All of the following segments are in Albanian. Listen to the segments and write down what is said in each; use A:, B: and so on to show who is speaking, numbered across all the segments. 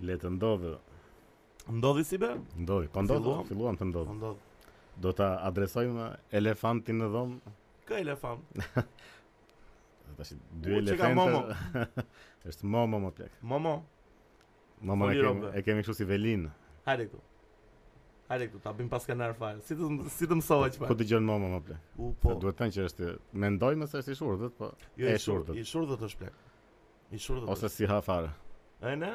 A: e të ndodhë,
B: Ndodhi si be?
A: ndodhi, po ndodhë,
B: Filluam?
A: filluam të ndodhë.
B: Ndodhi.
A: Do ta adresojmë elefantin në dhomë,
B: Kë elefant?
A: tash
B: U,
A: dy
B: që ka Momo.
A: elefante. Është momo më plak.
B: Momo,
A: Momo e
B: Foli
A: kemi,
B: robe.
A: e kemi kështu si velin.
B: hajde këtu. Hajde këtu, ta bëjmë pas kanar fare. Si të si të mësova
A: Ku
B: Po, çfarë?
A: dëgjon momo më plak?
B: U
A: Po.
B: po.
A: Duhet të thënë që është mendojmë se është i shurdhët, po
B: Jo,
A: e
B: i shurdhët.
A: shurdhët.
B: I shurdhët është plak. I shurdhët.
A: ose si ha fare.
B: është. e ne?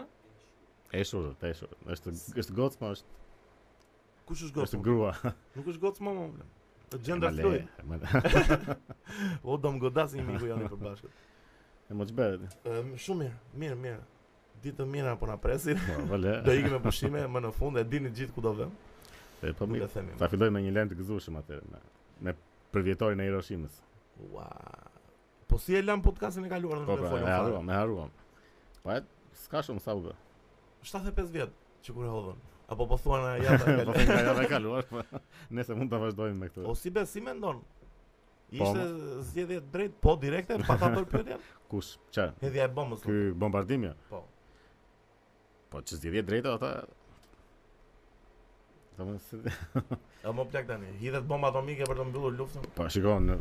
A: E shurdhët, e shurdhët. Është është gocë, po është
B: Kush
A: është
B: është gocë? po.
A: grua.
B: Nuk është gocë momo. bla. Është
A: E
B: Gjendra
A: ma le-
B: Floyd.
A: e ma-
B: O do më godas një miku janë i përbashkët.
A: E mos bëhet.
B: Ëm, shumë mirë, mirë, mirë. Ditë të mira po na presin.
A: Po, vale.
B: Do ikim me pushime më në fund e dini gjithë ku do vëm.
A: E, Po
B: Nuk e
A: mirë.
B: themi.
A: Ta filloj me një lajm të gëzueshëm atëherë me me për vjetorin e Hiroshimës.
B: Ua. Po si e lam podcastin e
A: Po
B: kaluar në
A: pra, e
B: folëm fare.
A: haruam, e haruam. Po e, s'ka shumë sa u bë.
B: 75 vjet që kur e hodhën. Apo po thuan na ja ta
A: Po
B: kaloj.
A: nga java e kaluar, po nëse mund ta vazhdojmë me këtë.
B: Po si be, si mendon?
A: Po,
B: Ishte zgjedhje drejt, po direkte, pa ta bërë pyetjen.
A: Kush? Ç'a?
B: Hedhja e bombës.
A: Ky bombardim ja.
B: Po.
A: Po që zgjidhje drejta ata. Do më se
B: E më plak tani. Hidhet bomba atomike për të mbyllur luftën.
A: po shikon në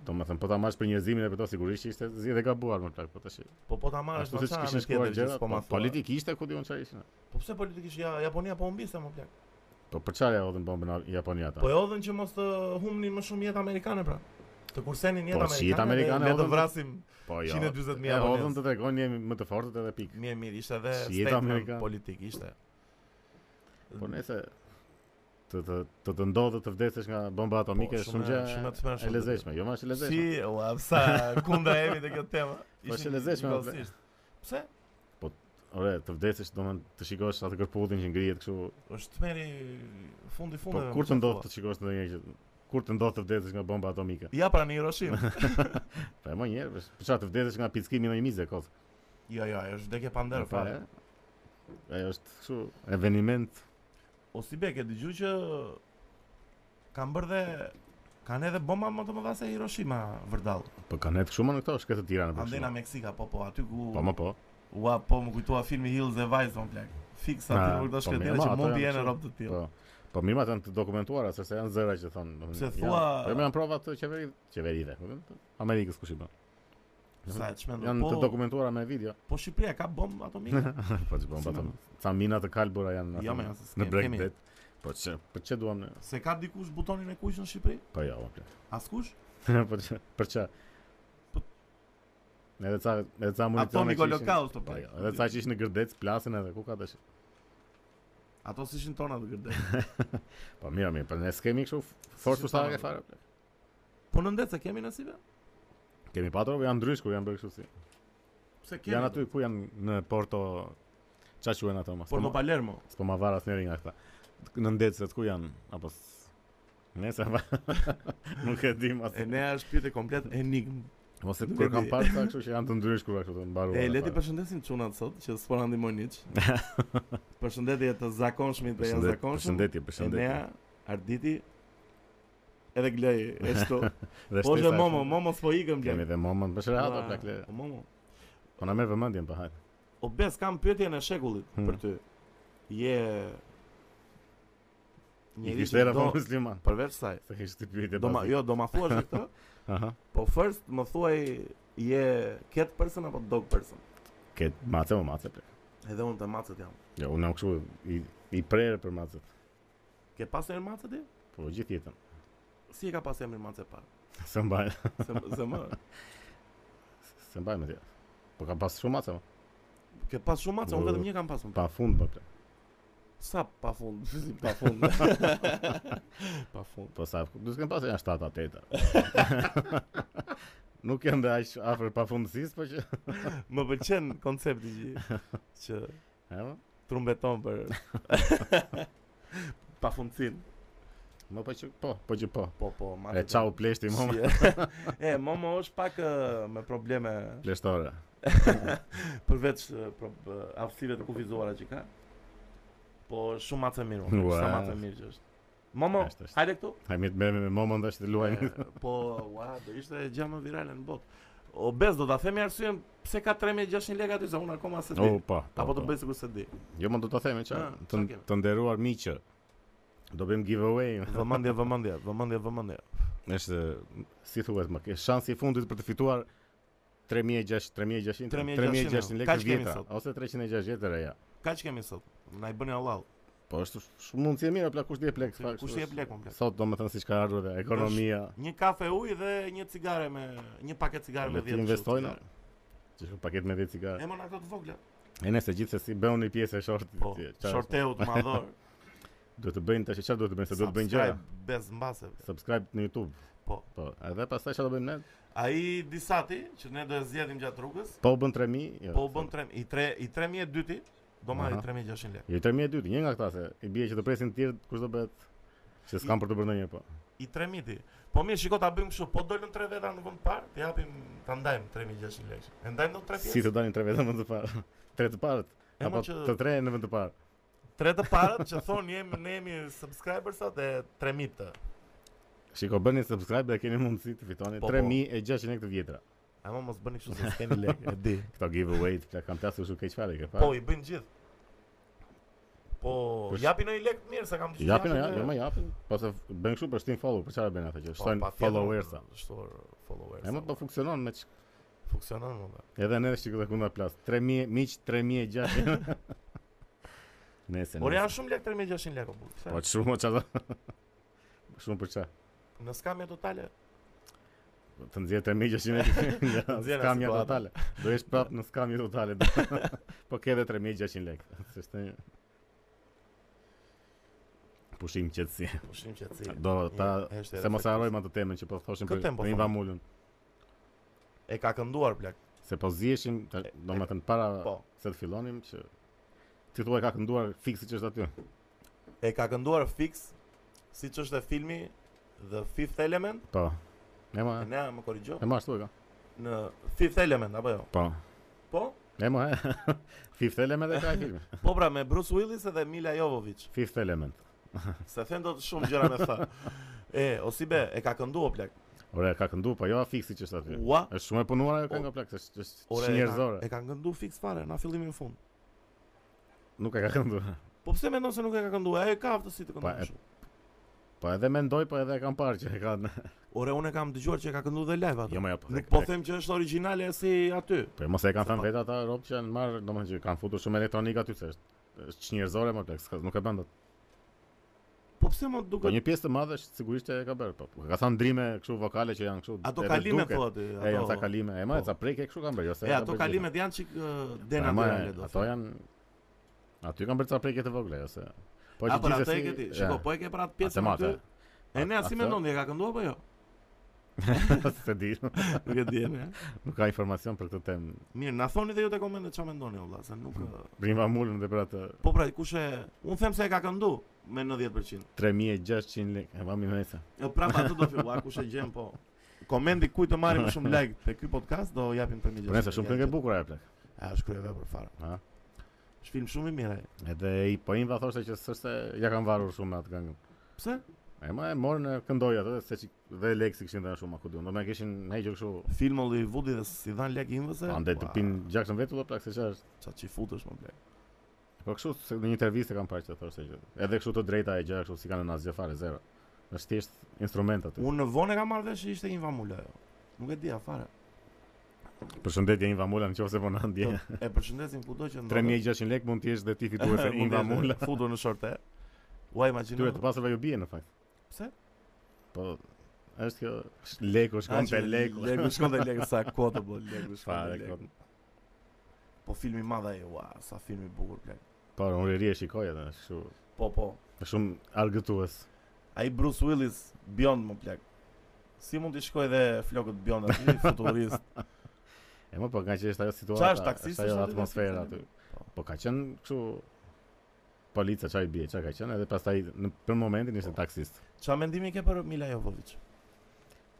A: Do më thënë, po ta marrësh për njerëzimin e për to sigurisht që ishte zgjidhje e gabuar më plak, po tash.
B: Po po ta marrësh
A: Ashtu
B: më
A: siç
B: çfarë
A: kishin
B: në
A: shkuar
B: tjetër që
A: gjërat,
B: s'po ma
A: po
B: thua.
A: politikishte ku diun çfarë ishin.
B: Po pse politikisht ja Japonia po humbiste më plak.
A: Po për çfarë ja hodhin bombën në Japoni ata?
B: Po e hodhën që mos të humnin më shumë jetë amerikane pra. Të kursenin jetë
A: Po,
B: amerikane.
A: si jetë amerikane
B: dhe le të
A: hodhën?
B: vrasim
A: Po
B: 140.000
A: E hodhën
B: japonez.
A: të tregojnë jemi më të fortët edhe pikë.
B: mirë mirë, ishte edhe
A: Si jetë
B: statement
A: amerikane.
B: politik ishte.
A: Po nëse të të të, të ndodhë të vdesesh nga bomba atomike
B: Po,
A: është
B: shumë
A: shumë
B: e-
A: gjë
B: shumë e të shmershme,
A: e lezetshme, jo më është e
B: Si,
A: lezetshme.
B: ua, psa kundra jemi te kjo tema.
A: Po,
B: Ishin
A: është e lezetshme, apo?
B: njëkohësisht.
A: po.
B: Pse?
A: Ore, të vdesesh domethënë të shikosh atë kërpullin që ngrihet kështu.
B: Është tmeri fundi
A: Po
B: fundeve. më
A: kur të
B: thua.
A: ndodh të shikosh ndonjë gjë? Kur të ndodh të vdesesh nga bomba atomike?
B: Ja pra në Hiroshima.
A: Po e më një herë, për për çfarë të vdesesh nga pickimi në një mizë kot?
B: jo, jo, është vdekje pa nder
A: Po,
B: fare.
A: e- Ajo është kështu eveniment.
B: O si be, ke dëgju që kanë bërë dhe kanë edhe bomba më të mëdha se Hiroshima vërdall.
A: Po kanë edhe shumë në këto shkretë të Tiranës. për
B: Andena
A: shembull.
B: Meksika, po po, aty ku
A: Po më po.
B: Ua, po më kujtua filmi Hills e Vice, më plak. Fix aty
A: Na,
B: nuk do
A: po
B: shkretire
A: mirë, ma,
B: që
A: ato
B: mund
A: janë
B: t'jenë në
A: kështu.
B: rob të tillë.
A: Po. Po mirë ma janë të dokumentuara, sepse janë zëra që thonë. domethënë,
B: Se
A: janë-
B: thua-
A: Po më janë prova të qeveri, qeverive, domethënë, të Amerikës kush i bën.
B: Sa çmë
A: Janë të
B: po.
A: dokumentuara me video.
B: Po Shqipëria ka bombë atomike.
A: Po që bën
B: Si
A: batom.
B: me-
A: Ca mina të kalbura janë
B: Jo,
A: atë
B: me, se
A: në
B: s'kemi,
A: Black
B: kemi.
A: Death. Po çe, po çe duam ne?
B: Se ka dikush butonin e kuq në Shqipëri?
A: Po jo, po.
B: Askush?
A: Po çe, për çe.
B: Po-
A: Edhe ca, edhe ca monitorë.
B: Atomik
A: që ishin-
B: Holocaust, po,
A: Po jo,
B: po.
A: edhe ca që ishin në Gërdec, plasin edhe ku ka tash.
B: Ato s'ishin tona të gërdej.
A: Po mirë, mirë, po ne s'kemi kështu f- forcë
B: Si
A: ushtarake
B: thonë,
A: fare. po.
B: Po në ndet se kemi nasibe?
A: Kemi patur, po janë ndrysh kur janë bërë kështu si.
B: Se kemi.
A: Janë aty ku janë në Porto Qa quhen ato mas?
B: Por në Palermo.
A: S'po ma var asnjëri nga këta. Në ndecet ku janë apo s- Nëse va. Nuk e dim as.
B: E ne është pyetje komplet enigm.
A: Ose
B: Nuk
A: kur
B: e
A: kam
B: di.
A: parë sa kështu që janë të ndryshkura kështu të mbaruara. pra.
B: E le ti
A: fare.
B: përshëndesim çunat sot që s'po na ndihmojnë hiç. Përshëndetje të zakonshmit dhe
A: Përshëndet-
B: jashtëzakonshmit.
A: Përshëndetje, përshëndetje.
B: Enea, Arditi, edhe Glej, e shtu.
A: Dhe
B: Po dhe
A: shtesa e
B: Momo,
A: fundit.
B: Momo s'po ikëm
A: Kemi
B: Glej.
A: dhe momon, bësh rehat
B: Ua,
A: apo plakle.
B: Po Momo.
A: Po na merr vëmendjen pa hajt.
B: O bes kam pyetjen e shekullit
A: Hmm.
B: për ty. Je
A: I
B: Njeri
A: kishte
B: që
A: era po
B: do
A: musliman.
B: përveç saj.
A: Se kishte ti pyetje
B: Do ma,
A: pas.
B: jo, do ma thuash dhe këtë,
A: Aha.
B: po first më thuaj je cat person apo dog person?
A: Ke mace o mace. plak.
B: Edhe unë të macet jam.
A: Jo, unë jam kështu i i prerë për macet.
B: Ke pasur emër macet ti?
A: Po gjithë jetën.
B: Si e ka pasur emrin macet parë?
A: Se mbaj,
B: Se, se më,
A: se mbaj me ti. Po ka pas shumë mace. mo.
B: ke pas shumë mace, unë
A: Po.
B: vetëm një kam pasur.
A: Pa fund po. plak.
B: Sa pa fund, si pa fund. pa fund.
A: Po sa, do të kem pas janë 7 8. Nuk janë dhe aq afër pafundësisë, po që.
B: Më pëlqen koncepti që që
A: E, mo?
B: trumbeton për pafundsin.
A: Më po që po, po që po.
B: Po po,
A: E
B: macet.
A: çau pleshti momo.
B: e, momo është pak ë, me probleme
A: Pleshtore.
B: përveç ë, pro, ë, aftësive të kufizuara që ka. Po shumë mace mirë, unë,
A: Ua.
B: sa mace mirë që është. Momo,
A: Ashtë, ashtë.
B: hajde këtu.
A: Hajmë të merrem me momon tash të luajmë.
B: E, po, ua, do ishte gjë më virale në botë. Obez do ta themi arsyen pse ka 3600 lekë aty se unë akoma se di.
A: O, po. po,
B: Apo të
A: po.
B: bëj sikur se di.
A: Jo, më do ta themi çka.
B: Ah,
A: Të
B: çfarë kemi?
A: të nderuar miqë. Do bëjmë giveaway.
B: Vëmendje, vëmendje, vëmendje, vëmendje.
A: Është si thuhet më, ke shansi i fundit për të fituar 3600 3600 3600
B: 3600
A: lekë
B: Kaç kemi
A: vjeta
B: sot?
A: ose 360 e reja.
B: Kaç kemi sot? Na i bëni Allahu.
A: Po është shumë mundësi e mirë, plak kush di e plak.
B: Si-
A: fakt,
B: kush i jep
A: është-
B: lekun, plak?
A: Sot domethënë siç ka ardhur dhe ekonomia.
B: Një kafe ujë dhe një cigare me një paketë cigare me
A: Le
B: 10.
A: të investojnë. Që shumë paket me 10 cigare.
B: E më na këto të vogla.
A: E nëse gjithsesi bëu një pjesë e shortit.
B: Po,
A: tje, çfarë-
B: shorteu të madhor.
A: Duhet të bëjnë tash çfarë duhet të bëjnë, se duhet të bëjnë gjëra.
B: Subscribe Bez mbase.
A: Subscribe në YouTube.
B: Po.
A: Po, edhe pastaj çfarë do bëjmë ne?
B: Ai disati që ne do e zgjedhim gjatë rrugës,
A: Po u bën 3000, jo.
B: po u bën 3 i 3 i 3002 do marrë
A: Aha.
B: 3600 lekë.
A: Jo 3002, një nga këta se i bie që të presin të tjerë kush do bëhet se s'kam për të bërë ndonjë po.
B: I 3000. Po mirë, shiko ta bëjmë kështu, po dolën 3 veta në vend parë, të japim ta ndajmë 3600 lekë. E ndajmë do 3
A: Si
B: pjesë.
A: të dalin tre vetë më të parë. Tre të parët
B: E, mo,
A: apo
B: që-
A: të tre në vend të parë.
B: Tre të parët që thonë jemi ne jemi subscribers sot e 3000 të.
A: Shiko, bëni subscribe dhe keni mundësi të fitoni
B: Po, po.
A: 3600 lekë të vjetra.
B: Ama mos bëni kështu se s'kemi lekë, e di.
A: Këto giveaway të plak, kam plasur shumë keq fare ke pa.
B: Po i bëjnë gjithë. Po
A: Për sh-
B: japi në i lekë mirë se kam
A: Japin, ja,
B: e-
A: jo më japin. Pas bën kështu për shtin follow, për çfarë bën ata që
B: Po,
A: shtojnë
B: patjetër,
A: followersa.
B: Shtojnë followers.
A: E më po funksionon me ç-
B: funksionon më. dhe.
A: edhe ne shikoj ku na plas. 3000 miq 3600. Nëse.
B: Por
A: nëse.
B: janë shumë lekë 3600 lekë. po, pse?
A: Po shumë çfarë? Shumë për çfarë?
B: Në skamje totale.
A: Të nxjerr të migje që ne
B: nxjerrë
A: skamja
B: situata.
A: totale. Do jesh prap në skamje totale. do- po ke edhe 3600 lekë. S'është një pushim qetësi.
B: Pushim që cilë.
A: Do ta
B: Një, është
A: se
B: edhe
A: mos e
B: faktis.
A: harrojmë atë temën që po thoshim për
B: Këtë temë po
A: për
B: thonë.
A: Invamulën,
B: E ka kënduar plak.
A: se po ziheshim, ta- domethënë para
B: Po.
A: se të fillonim që ti thua e ka kënduar fiksi që është aty.
B: E ka kënduar fix siç është e filmi The Fifth Element.
A: Po. E
B: E
A: më
B: ne më korrigjo.
A: e më ashtu e ka.
B: Në Fifth Element apo jo?
A: Po.
B: Po.
A: E më e. Fifth Element e ka e filmi.
B: Po pra me Bruce Willis edhe Mila Jovovich.
A: Fifth Element.
B: Se thënë do të shumë gjëra me tha. E, Osibe, e ka kënduar plak.
A: Ore, ka këndu, po jo fiksi që është aty.
B: Ua.
A: Është shumë e punuar ajo kënga plak, është është
B: Ore,
A: që
B: e ka,
A: njerëzore.
B: e ka këndu fix fare, na fillimi në fund.
A: Nuk e ka kënduar.
B: Po pse mendon se nuk e ka kënduar? Ajo e ka aftësi të
A: Pa, e-
B: këndojë. kështu.
A: Po edhe mendoj, po edhe e kam parë që e kanë.
B: Ore, unë e kam dëgjuar që e ka kënduar dhe live atë.
A: Jo, më jo.
B: Nuk po them që është origjinale si aty.
A: Po mos e kanë
B: Se
A: thënë
B: pa-
A: vetë ata rob që janë marrë, domethënë që kanë futur shumë elektronik aty se është është që njerëzore më plak, s'ka- nuk e bën dot.
B: Po pse më
A: Po
B: duket?
A: një pjesë të madhe është sigurisht që e ka bërë, po. po, Ka thënë ndrime kështu vokale që janë kështu.
B: Ato
A: edhe
B: kalime
A: duket.
B: thua ti,
A: E janë ca
B: ato.
A: kalime, e më
B: Po.
A: ca prekje kështu kanë bërë, jo se.
B: E
A: e ka
B: ato
A: bërë
B: kalimet janë çik
A: gjithë. Po, e, ma,
B: denaturale do. të
A: Ato
B: thotë.
A: janë Aty kanë bërë ca prekje të vogla, jo se. Po
B: A por atë e ke ti. Shiko, po e ke pra atë pjesën
A: Atë
B: aty.
A: mate.
B: E ne
A: Atë-
B: asi
A: atë-
B: mendon e ka kënduar apo jo?
A: se di.
B: Nuk e di ne.
A: Nuk ka informacion për këtë temë.
B: Mirë, na thoni dhe ju te komente çfarë mendoni o vëlla, se nuk ë,
A: Brimba mulën dhe për atë
B: Po pra, kush e un them se e ka këndu me 90%.
A: 3600 lekë. E vami mëse.
B: E prapa atë do fillua kush e gjen po. Komendi kujt të marrim më shumë like te ky podcast do japim për
A: Po nëse shumë këngë e bukur ajo plak.
B: A është kryeve për fare.
A: Ha.
B: Është film shumë i mirë. ai.
A: Edhe i po Inva thoshte që s'është ja kanë varur shumë atë këngën.
B: Pse?
A: E më e morën e këndoi atë se që, dhe leksi kishin dhënë shumë aku diun. Do më kishin hequr kështu
B: Film Hollywoodi dhe si dhan lek invëse.
A: ande të pin gjakson vetë apo plak se çfarë është.
B: Ça çi futesh më blej.
A: Po kështu se në një intervistë kam parë që thoshte që edhe kështu të drejta e gjëra kështu si kanë në asgjë fare zero. Është thjesht instrument aty.
B: Unë në vonë e kam marrë vesh që ishte Inva Mula ajo. Nuk e di afare.
A: Përshëndetje Inva Mula nëse po na ndjen.
B: E përshëndesim kudo që ndodhet.
A: 3600 lekë Po, mund të jesh dhe ti fituese
B: Mund
A: Inva
B: t'jesh
A: Mula.
B: Futur në shorte. Ua imagjino.
A: Tyre të po pasurve ju bie në fakt.
B: Pse?
A: Po është kjo sh- leku shkon te leku.
B: Leku shkon te leku sa kotë po leku shkon te
A: Fare
B: leku.
A: kot.
B: Po filmi i madh ai, ua, sa film i bukur plak.
A: Po unë ri e shikoj atë është kështu.
B: Po po.
A: është Shumë argëtues.
B: Ai Bruce Willis Beyond më plak. Si mund të shkoj dhe flokët Beyond aty futurist.
A: E më po ka qenë është ajo situata.
B: Çfarë është taksist?
A: ajo
B: është aty
A: atmosfera
B: taksist?
A: aty. Po ka qenë kështu polica çaj bie, çka ka qenë edhe pastaj në për momentin ishte
B: Po.
A: taksist.
B: Çfarë mendimi ke për Mila Jovovich?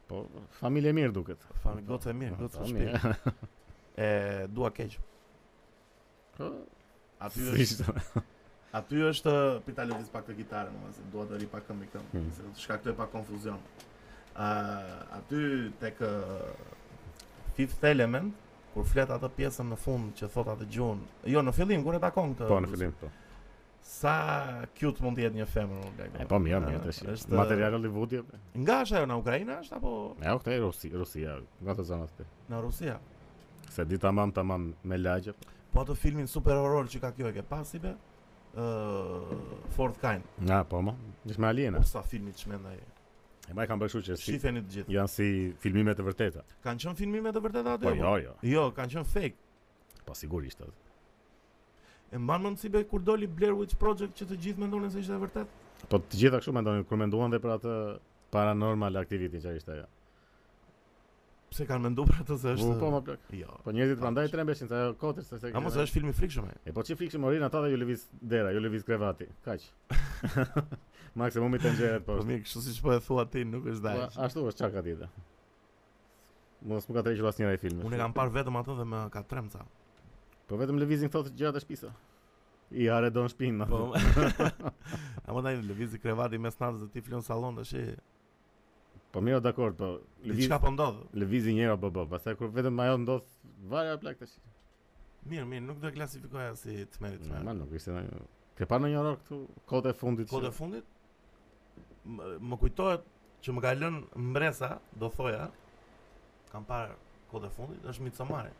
A: Po familje mirë duket.
B: Fami gocë e mirë,
A: Po,
B: gocë e
A: familje.
B: shpirë. E dua keq.
A: Po
B: Aty
A: si
B: është
A: ishte.
B: Aty është pita lëviz pak të gitarën, më se dua të ri pak këmbë këmbë,
A: Hmm.
B: se të shkaktoj pak konfuzion. Ë aty tek ë, Fifth Element, kur flet atë pjesën në fund që thot atë gjuhën. Jo, në fillim kur e takon këtë.
A: Po në fillim po.
B: Sa cute mund të jetë një femër unë lajm.
A: E po mirë, mirë tash.
B: Është
A: Material Hollywoodi. po. apo?
B: Nga është ajo në Ukrainë është apo
A: Ja, u këtej Rusi, Rusia, nga të zonat këtej.
B: në Rusia?
A: Se di tamam tamam me lagje.
B: Po atë filmin super horror që ka kjo e ke pasi be? Ë Fourth Kind.
A: Na, po mo. Dish me aliena.
B: Po sa filmi çmend ai.
A: E mbaj kam bërë kështu që si
B: Shifeni të gjithë.
A: janë si filmime të vërteta.
B: Kanë qenë filmime të vërteta aty?
A: Po
B: apo?
A: jo, jo.
B: Jo, kanë qenë fake.
A: Po sigurisht. atë.
B: E mban mend si be kur doli Blair Witch Project që të gjithë mendonin se ishte e vërtet?
A: Po të gjitha kështu mendonin kur menduan dhe për atë paranormal activity që ishte ajo.
B: Pse kanë menduar atë se është?
A: U, Po më plak.
B: Jo.
A: Po njerëzit prandaj trembeshin se ajo kotër se se.
B: A mos është film i frikshëm ai?
A: E po çi flikshim orin ata dhe ju lëviz dera, ju lëviz krevati. Kaq. Maksimumi tenxheret po.
B: Po mirë, kështu siç po e thua ti, nuk është
A: Po,
B: dash.
A: Ashtu është çka tjetër. Mos më ka tërhequr asnjëra e filmit.
B: Unë e kam parë vetëm atë dhe më ka tremca.
A: Po vetëm lëvizin këto të gjëra të shtëpisë. I are don shpinë.
B: Po. A më dajnë lëvizi krevati mes natës dhe ti flon sallon tash. e,
A: Po mirë, dakor, po lëviz
B: Diçka po ndodh.
A: lëvizi njëra po po, pastaj kur vetëm ajo ndodh varja plak tash.
B: Mirë, mirë, nuk do e klasifikoja si të merrit me.
A: Normal, nuk ishte ndonjë. Ke parë ndonjë horror këtu kohët e fundit? që-
B: Kod e fundit më më kujtohet që më ka lënë mbresa, do thoja. Kam parë kod e fundit, është Midsommar.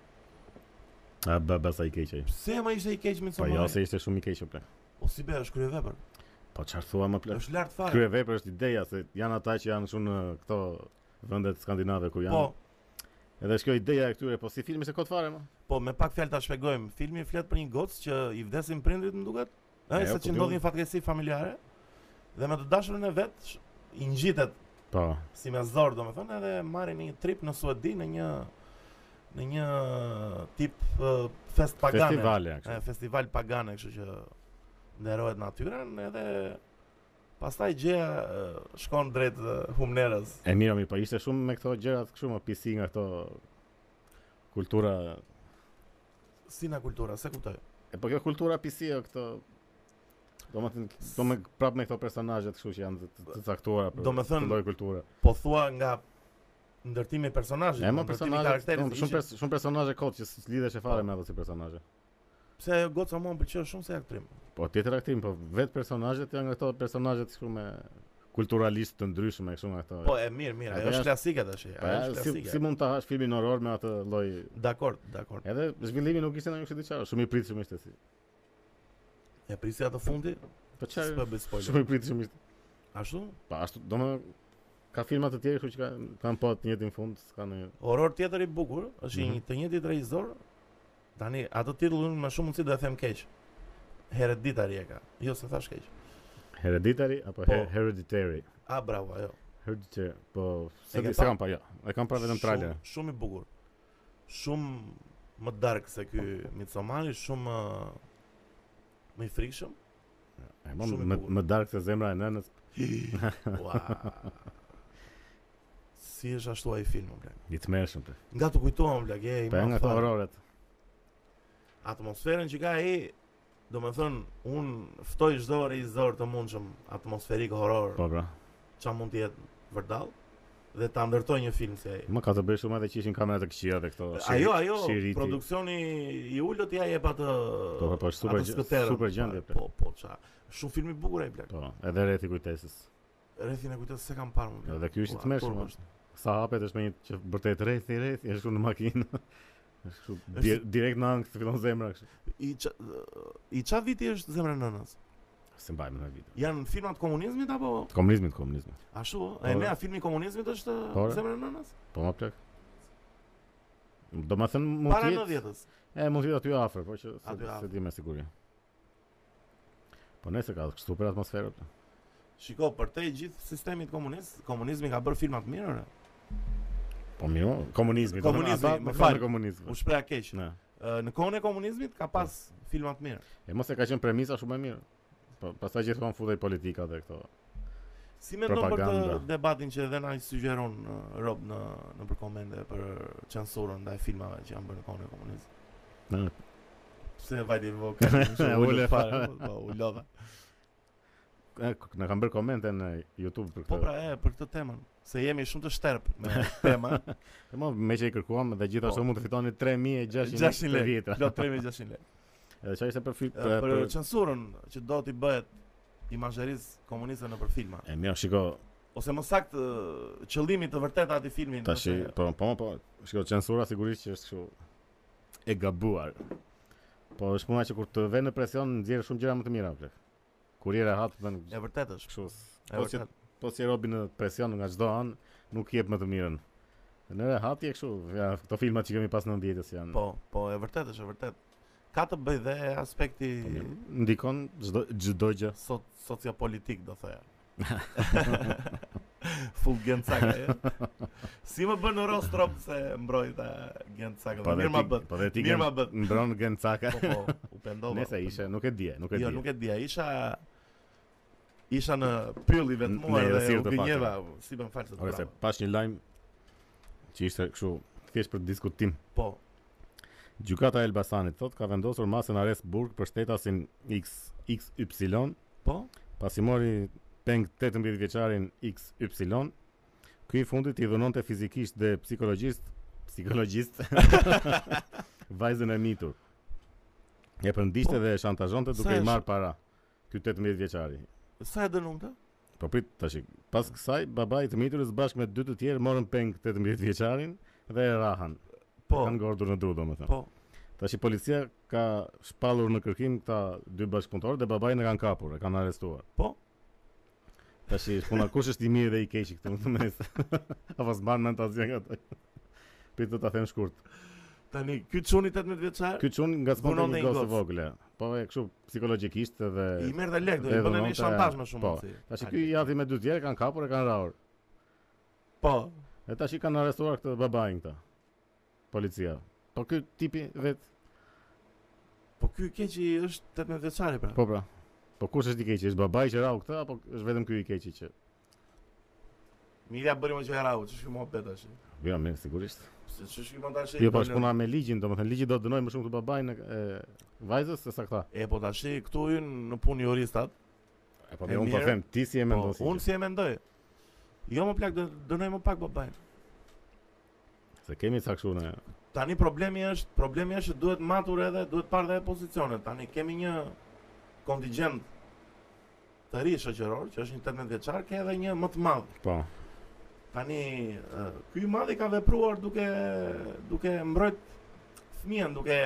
A: A baba sa i keq ai.
B: Pse më ishte i keq
A: Po
B: Midsommar?
A: jo se ishte shumë i keq o plak.
B: O si be, është kryevepër.
A: Po çfarë thua më plak?
B: Është lart fare.
A: Kryevepër është ideja se janë ata që janë shumë në këto vendet skandinave ku janë.
B: Po,
A: Edhe është kjo ideja e këtyre, po si filmi se kot fare më.
B: po me pak fjalë ta shpjegojmë. Filmi flet për një gocë që i vdesin prindrit, më duket. Ëh,
A: E,
B: se
A: po,
B: që
A: di
B: ndodhi
A: unë.
B: një fatkeqësi familjare dhe me të dashurën e vet sh- i ngjitet
A: Po.
B: si me zor, domethënë, edhe marrin një trip në Suedi në një në një tip ë, fest pagane.
A: Po, Festivale ja,
B: E,
A: kështu.
B: festival pagane, kështu që nderohet natyra, edhe pastaj gjëja ë, shkon drejt ë, humnerës.
A: E mirë, mi, po ishte shumë me këto gjërat kështu më pisi nga këto kultura
B: Si na kultura, se kuptoj.
A: E po kjo kultura PC o këto Do me thënë, do me prap me këto personazhe kështu që janë të, të caktuara për
B: Do me thënë,
A: këtë lloj kulture.
B: Po thua nga ndërtimi i personazhit,
A: E më
B: ndërtimi i
A: personazhe,
B: karakterit.
A: do- shumë pers shumë personazhe kot që s- lidhesh e fare me ato si personazhe.
B: pse ajo goca mua më pëlqeu shumë se aktrim.
A: Po tjetër aktim, po vetë personazhet janë nga këto personazhet kështu me kulturalistë të ndryshme kështu nga këto.
B: Po e mirë, mirë,
A: Ajo
B: ajo është
A: është-
B: klasike tash. Ajo
A: Pa,
B: është
A: si, si
B: klasike.
A: mund ta hash filmin horror me atë lloj
B: Dakor, dakor.
A: Edhe zhvillimi nuk ishte ndonjë kështu diçka, shumë i pritshëm ishte si.
B: E prisi atë fundi,
A: Po
B: s'po
A: çfarë?
B: bëj spoiler.
A: Shumë i pritshëm ishte.
B: Ashtu?
A: Pa ashtu, domo ka filma të tjerë kështu që kanë kanë po të njëjtin fund, s'ka ndonjë.
B: Horror tjetër i bukur, është i
A: Mhm.
B: një të njëjtit regjisor. Tani atë titullin më shumë mundsi do e them keq. Hereditary e ka. Jo, se thash keq.
A: Hereditary apo
B: Po.
A: Her- Hereditary?
B: A bravo, ajo.
A: Hereditary, po
B: E
A: se
B: ke
A: di- se
B: pa?
A: kam pa, jo. E kam pa vetëm
B: Shumë-
A: trailer.
B: Shumë i bukur. Shumë më dark se ky Midsommar, shumë ë, më i frikshëm.
A: E mo
B: shumë e
A: më
B: bukur.
A: më dark se zemra e nënës.
B: Ua. Si është ashtu ai film, bla.
A: I tmerrshëm. ple.
B: Nga të kujtohem, bla, e
A: Po e nga këto horroret.
B: atmosferën që ka ai, do me thënë, unë ftoj çdo regjisor të mundshëm atmosferik horror,
A: Po pra.
B: çfarë mund të jetë vërdall dhe ta ndërtoj një film si ai.
A: Më ka të bëj shumë edhe që ishin kamera të këqija dhe këto. Po, shiri-
B: Ajo, ajo,
A: shiriti.
B: produksioni i ullët ja jep atë
A: Po, po, po, është super
B: atë
A: gjë-
B: skëterën,
A: super gjendje,
B: Po, po, qa. Shumë film i bukur ai blek.
A: Po, edhe rrethi kujtesës.
B: Rrethin e kujtës se kam parë më blek.
A: Edhe ky është i
B: Ua,
A: tmerrshëm. po.
B: turp
A: a.
B: është.
A: Sa hapet është me një që vërtet rrethi, rrethi, është shumë në makinë. Është kështu
B: Është-
A: di- direkt në ankth fillon zemra kështu.
B: I qa, i qa viti është zemra e nënës?
A: Se mbajmë në video.
B: Janë filmat komunizmit apo?
A: Të komunizmit, komunizmit.
B: Ashtu, ë?
A: Po,
B: e
A: re.
B: nea filmi i komunizmit është
A: Po, re.
B: zemra e nënës?
A: Po ma plak. Do më thënë mund
B: Para
A: të jetë.
B: 90-s.
A: E mund të jetë aty afër, po që se,
B: Aty
A: se
B: afër.
A: di me siguri. Po nëse ka kështu për atmosferë. po.
B: Shiko, për te gjithë sistemit komunist, komunizmi ka bërë filmat mirë, ore.
A: Po mirë, komunizmi. do me-
B: Komunizmi,
A: ata
B: më
A: më
B: fal.
A: fal komunizmi.
B: U shpreha keq.
A: Ne.
B: Ë, Në kohën e komunizmit ka pas
A: Po.
B: filma të mirë.
A: E mos e ka qenë premisa shumë e mirë. Po pastaj gjithmonë futej politika dhe këto.
B: Si mendon për të
A: Propaganda.
B: debatin që edhe na i sugjeron ë, Rob në në për komente për censurën ndaj filmave që janë bërë në kohën e komunizmit?
A: Ne,
B: Pse vajti voka? Shumë
A: Ule
B: ulë
A: fare.
B: fare, po, po u lodha.
A: E, k- na kanë bërë komente në YouTube për këtë.
B: Po pra, Po, e për këtë temën. se jemi shumë të shterp me tema.
A: E mo, me që i kërkuam dhe gjithashtu
B: Po.
A: mund të fitoni 3600
B: 600
A: lekë
B: lekë.
A: vjetra.
B: Plot 3600 lekë.
A: Edhe çfarë ishte Pra. për film
B: Për, për censurën që do t'i bëhet imazherisë komuniste nëpër filma.
A: E mirë, shiko,
B: Ose më saktë ë, qëllimi të vërtetë atë filmin.
A: tash
B: nëse-
A: po po po, shiko censura sigurisht që është kështu e gabuar. Po është puna që kur të vjen në presion nxjerr shumë gjëra më të mira plak. Kur je rehat bën
B: e vërtetë është.
A: kështu.
B: E
A: Po që
B: vërtetë.
A: po si robi në presion nga çdo anë, nuk jep më të mirën. Në rehat je kështu, ja, këto filmat që kemi pas 90-s janë.
B: Po, po e vërtetë është e vërtetë. Ka të bëj dhe aspekti
A: Po, mirë, ndikon çdo çdo gjë.
B: so sociopolitik do thoya. Full Gencaka. e? si më bën në Rostrop se mbrojta Gencaka.
A: Po dhe
B: Mirë ma
A: ti-
B: bën.
A: Po dhe ti
B: Mirë
A: gen-
B: ma bën.
A: Mbron Gencaka.
B: Po po, u pendova.
A: Nëse
B: u
A: ishe, nuk e di, nuk e di.
B: Jo, nuk e dija, isha isha në pyll i vetmuar
A: Ne,
B: dhe
A: rësirë
B: u
A: të pak,
B: gënjeva, si bën falsë të
A: Ore se
B: prapa.
A: pash një lajm që ishte kështu thjesht për diskutim.
B: Po,
A: Gjykata e Elbasanit thotë ka vendosur masën arrest burg për shtetasin X XY,
B: po,
A: pasi mori peng 18 vjeçarin XY. Ky i fundit i dhënonte fizikisht dhe psikologjisht psikologjist vajzën e mitur. E përndishte
B: Po.
A: dhe e shantazhonte
B: Sa
A: duke i
B: është-
A: marrë para. Ky 18 vjeçari.
B: sa e dënon të?
A: Po prit tash. Pas kësaj babai i të miturës bashkë me dy të tjerë morën peng 18 vjeçarin dhe e rahan.
B: Po,
A: Kanë gordur në dru, domethënë.
B: po,
A: Tash i policia ka shpallur në kërkim këta dy bashkëpunëtorë dhe babain e kanë kapur, e kanë arrestuar.
B: Po.
A: Tash i puna kush është i mirë dhe i keqi këtu në mes. Apo s'mban mend asgjë nga ato. Prit do ta them shkurt.
B: tani, ky çuni 18 vjeçar,
A: Ky çun nga s'mon
B: Punon
A: një
B: dhe një
A: gocë
B: gocë.
A: vogle. Po e kështu psikologjikisht dhe
B: i merr dhe lek, do i
A: e
B: bënë
A: dënonte-
B: një shantazh më shumë.
A: po,
B: mundsi.
A: tash ky i jati me dy tjerë kanë kapur e kanë rrahur.
B: Po,
A: E tash i kanë arrestuar këtë babain këta. Policia. Po ky tipi vet.
B: po ky keq i është 18 vjeçari pra.
A: Po pra. Po kush është i keqi? Është babai që rau këtë apo është vetëm ky i keqi që?
B: Mirja bëri më çfarë, ç'është më bet tash.
A: Jo, mirë, sigurisht.
B: Se ç'është më tash.
A: Jo, po është puna me ligjin, domethënë ligji do të dënojë më shumë të babain e e, vajzës se sa këta.
B: E po tash këtu hyn në punë juristat.
A: E po
B: E
A: unë po
B: mirë.
A: them ti si e
B: Po,
A: mendon si.
B: unë si e mendoj. Jo më plak, dë- dënoj më pak po, babain.
A: Se kemi sa kështu ne.
B: Tani problemi është, problemi është që duhet matur edhe, duhet parë dhe pozicionet. Tani kemi një kontingjent të ri shoqëror, që është një 18 vjeçar, ka edhe një më të madh.
A: Po.
B: Tani ë, ky i madh i ka vepruar duke duke mbrojt fëmijën, duke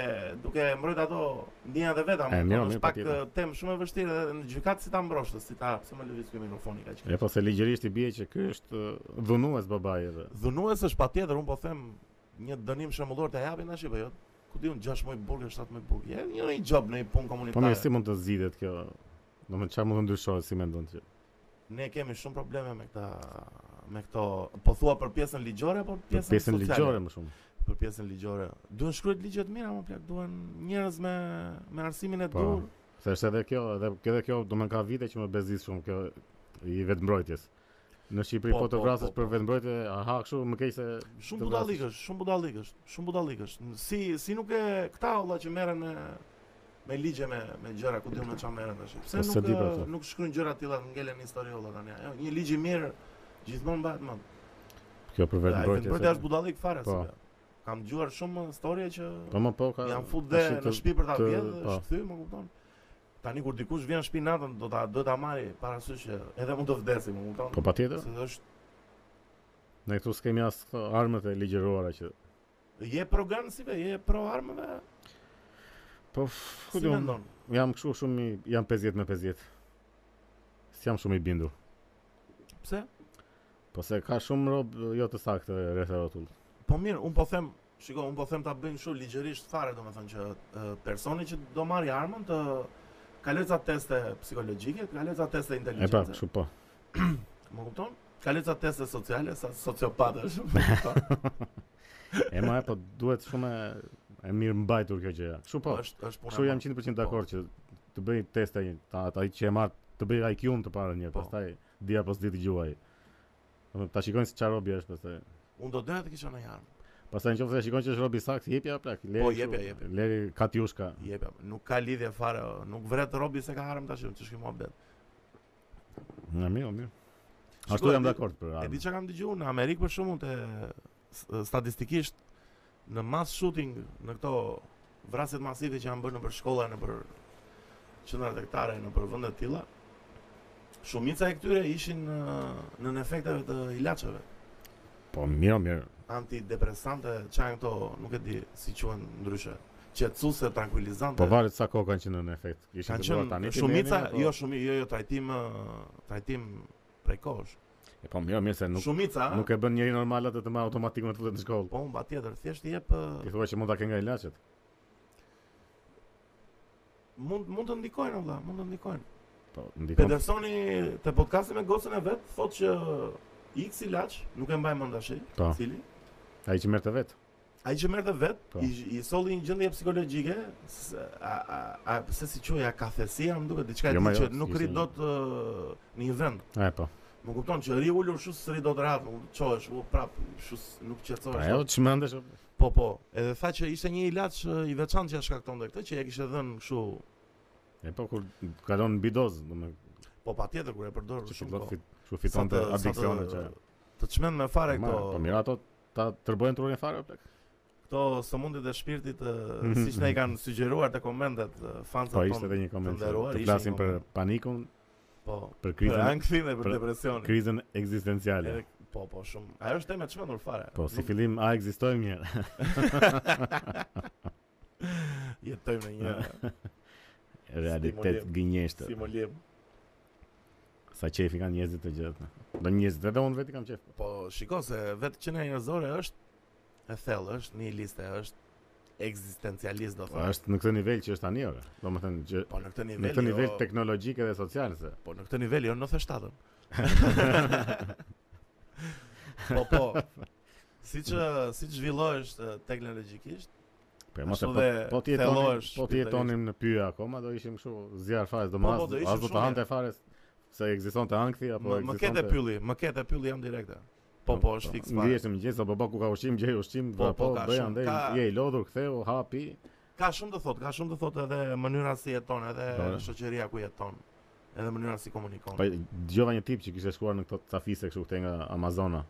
B: duke mbrojt ato ndjenjat e veta.
A: E, mirë,
B: më kupton,
A: mirë,
B: është pak
A: patjetër.
B: ë, temë shumë e vështirë edhe në gjykat si ta mbroshtë, si ta pse më lëviz ky mikrofoni kaq.
A: E po se ligjërisht i bie që ky është e, dhunues babai edhe.
B: Dhunues është patjetër, un po them një dënim shembullor të japin tash po jo. Ku diun 6 muaj burg, 7 muaj burg. Ja, një një job në një
A: Po
B: punë komunitare.
A: mirë, si mund të zgjidhet kjo? Domethënë çfarë mund të ndryshojë si mendon ti?
B: Ne kemi shumë probleme me këta me këto, po thua për pjesën ligjore apo për
A: Për
B: pjesën,
A: pjesën
B: sociale?
A: ligjore më shumë.
B: Për pjesën ligjore. Duhen shkruajt ligje të mira, më plak, duhen njerëz me me arsimin e
A: Po.
B: dur.
A: Se është edhe kjo, edhe kjo edhe kjo, do më ka vite që më bezis shumë kjo i vetëmbrojtjes. Në Shqipëri
B: Po,
A: po të
B: po,
A: vrasësh
B: po,
A: për
B: po.
A: vetëmbrojtje, aha, kështu më keq se
B: Shumë
A: Të
B: budallikësh, shumë budallikësh, shumë budallikësh. Si si nuk e këta valla që merren me me ligje me me gjëra ku diun me çfarë merren tash. Pse
A: Po, se
B: nuk
A: di për
B: e,
A: ato.
B: nuk shkruajnë gjëra të tilla ngelen në histori valla tani. Jo, një ligj i mirë gjithmonë bëhet më.
A: kjo për
B: Ai
A: vetëmbrojtje.
B: vetëm
A: se-
B: është budallik fare
A: Po.
B: se. be. Kam dëgjuar shumë historia që
A: Po më po ka.
B: janë fut dhe
A: tash
B: në
A: të-
B: shtëpi për ta
A: të-
B: vjedhë,
A: po.
B: është kthy, më kupton? Tani kur dikush vjen në shtëpi natën do ta do ta marri parasysh që edhe mund të vdesi, më kupton?
A: Po patjetër.
B: Se është
A: Ne këtu s'kemi as këto armët e ligjëruara që
B: je pro gun si be, je pro armëve,
A: Po, f- ku
B: si
A: di unë,
B: mendon?
A: jam kështu shumë i, jam 50 me 50. S'jam shumë i bindur.
B: Pse?
A: Po se ka shumë rob e, jo të saktë rreth e rrotull.
B: Po mirë, un po them, shiko, un po them ta bëjnë kështu ligjërisht fare, domethënë që e, personi që do marrë armën të kaloj ca teste psikologjike, kaloj ca teste
A: E pa,
B: inteligjencë.
A: kështu po.
B: Më kupton? Kaloj ca teste sociale, sa sociopatë është. më kupton?
A: E ma e po duhet shumë e- e mirë mbajtur kjo gjëja. Kështu po.
B: është është puna. Po.
A: Kështu jam
B: e madhe.
A: 100% dakord që të bëj teste ta ata që e marr të bëj IQ-un të parën një,
B: Po.
A: pastaj dia pas ditë gjuaj. Domethënë ta shikojnë se çfarë robi është pastaj.
B: Unë do doja të kisha një armë.
A: Pastaj nëse e shikojnë që është robi sakt, jepi ja plak, leri.
B: Po,
A: kështu,
B: jepja, jepja.
A: Leri Katjushka.
B: Jep, jap, nuk ka lidhje fare, o, nuk vret robi se ka armë tash, ç'është ky mohabet.
A: Na mirë, mirë. Ashtu jam dakord për
B: E di
A: armën.
B: çka kam dëgjuar në Amerikë për shkakun te s- statistikisht në mass shooting në këto vrasjet masive që janë bërë nëpër shkolla nëpër qendra tektare nëpër vende të tilla shumica e këtyre ishin ë, nën efekteve të ilaçeve
A: Po mirë, mirë.
B: antidepresante çajnë këto nuk e di si quhen ndryshe qetësuese tranquilizante
A: Po varet sa kohë kanë qenë në efekt. Ishin
B: kanë
A: të bërë
B: qenë
A: tani. ti
B: shumica
A: merrni,
B: jo
A: apo-
B: shumë jo jo trajtim ë, trajtim prekosh
A: E, Po mirë, mirë se nuk
B: shumica
A: nuk e bën njëri normal atë të më automatikisht të futet në shkollë.
B: po patjetër thjesht i jep ë,
A: Ti thua që mund ta ke nga ilaçet.
B: mund mund të ndikojnë valla, mund të ndikojnë.
A: Po ndikon.
B: Pedersoni te podcasti me gocën e vet thotë që X ilaç, nuk e mbaj mend tash,
A: Po,
B: cili?
A: ai që merrte vet.
B: Ai që merrte vet,
A: Po.
B: i, i solli një gjendje psikologjike, s- a, a, a, se si quaj, a kafesia, më duket diçka e
A: Jo, ma
B: tillë
A: jo,
B: që nuk
A: ishte
B: rri
A: një-
B: dot ë, në një vend.
A: Ai po.
B: Më kupton që ri ulur shu s'ri dot rahat, më çohesh, u prap, shu s- nuk qetësohesh.
A: Ajo
B: dot.
A: çmendesh. apo?
B: Po po, edhe tha që ishte një ilaç ë, i veçantë që ja shkaktonte këtë, që ja kishte dhënë kështu.
A: E po kur kalon mbi dozë, domethënë
B: Po patjetër kur e përdor
A: që
B: shumë po.
A: do
B: kohë.
A: fit, kështu fiton të adiksione që.
B: Të çmend me fare
A: Ma,
B: këto
A: Po mirë ato ta tërbojnë trurin fare o plak.
B: këto sëmundjet e shpirtit ë,
A: Mhm.
B: siç ne i kanë sugjeruar te komentet ë, fansat
A: Po
B: tonë.
A: ishte edhe një koment. që
B: nderuar,
A: Të
B: ishte
A: flasim
B: një
A: për
B: koment.
A: panikun,
B: po
A: për
B: për
A: krizën,
B: ankthin dhe për
A: për
B: depresionin.
A: krizën ekzistenciale.
B: Edhe- Po po shumë. Ajo është temë e çmendur fare.
A: Po si
B: Nuk
A: fillim a ekzistojmë mirë.
B: jetojmë në një
A: Realitet
B: Stimulim.
A: gënjeshtër.
B: simulim.
A: Sa qefi kanë njerëzit të gjithë. Do njerëzit edhe unë vetë kam qef.
B: Po shiko se vetë që ne njerëzore është e thellë, është nihiliste, është ekzistencialist do
A: Po
B: thonë.
A: është në këtë nivel që është tani ora. Domethënë që
B: Po në këtë nivel.
A: në këtë nivel
B: jo,
A: teknologjik edhe social se.
B: Po në këtë nivel jo 97. po po. Siç ë, siç zhvillohesh ë, teknologjikisht,
A: Po mos e
B: Ashtu
A: po
B: dhe
A: po ti jetonim,
B: thellohesh
A: po ti
B: shpirtërisht.
A: jetonim në pyje akoma do ishim kështu zjarr fare, do
B: Po,
A: mas,
B: po, do ishim
A: as do të
B: shumë
A: hante fare se ekzistonte ankthi apo
B: më, më ke të
A: ekzistonte.
B: pylli, më ke të pylli jam direkte. Po po, është fiks fare.
A: Ngrihesh në mëngjes apo bë ku ka ushqim, gjej ushqim,
B: Po,
A: po
B: po,
A: po
B: ka
A: bëj
B: shumë,
A: andaj,
B: ka-
A: je i lodhur, ktheu, hapi.
B: Ka shumë të thotë, ka shumë të thotë edhe mënyra si jeton, edhe
A: Po.
B: shoqëria ku jeton, edhe mënyra si komunikon.
A: Po dëgjova një tip që kishte shkuar në këto cafise kështu këthe nga Amazona.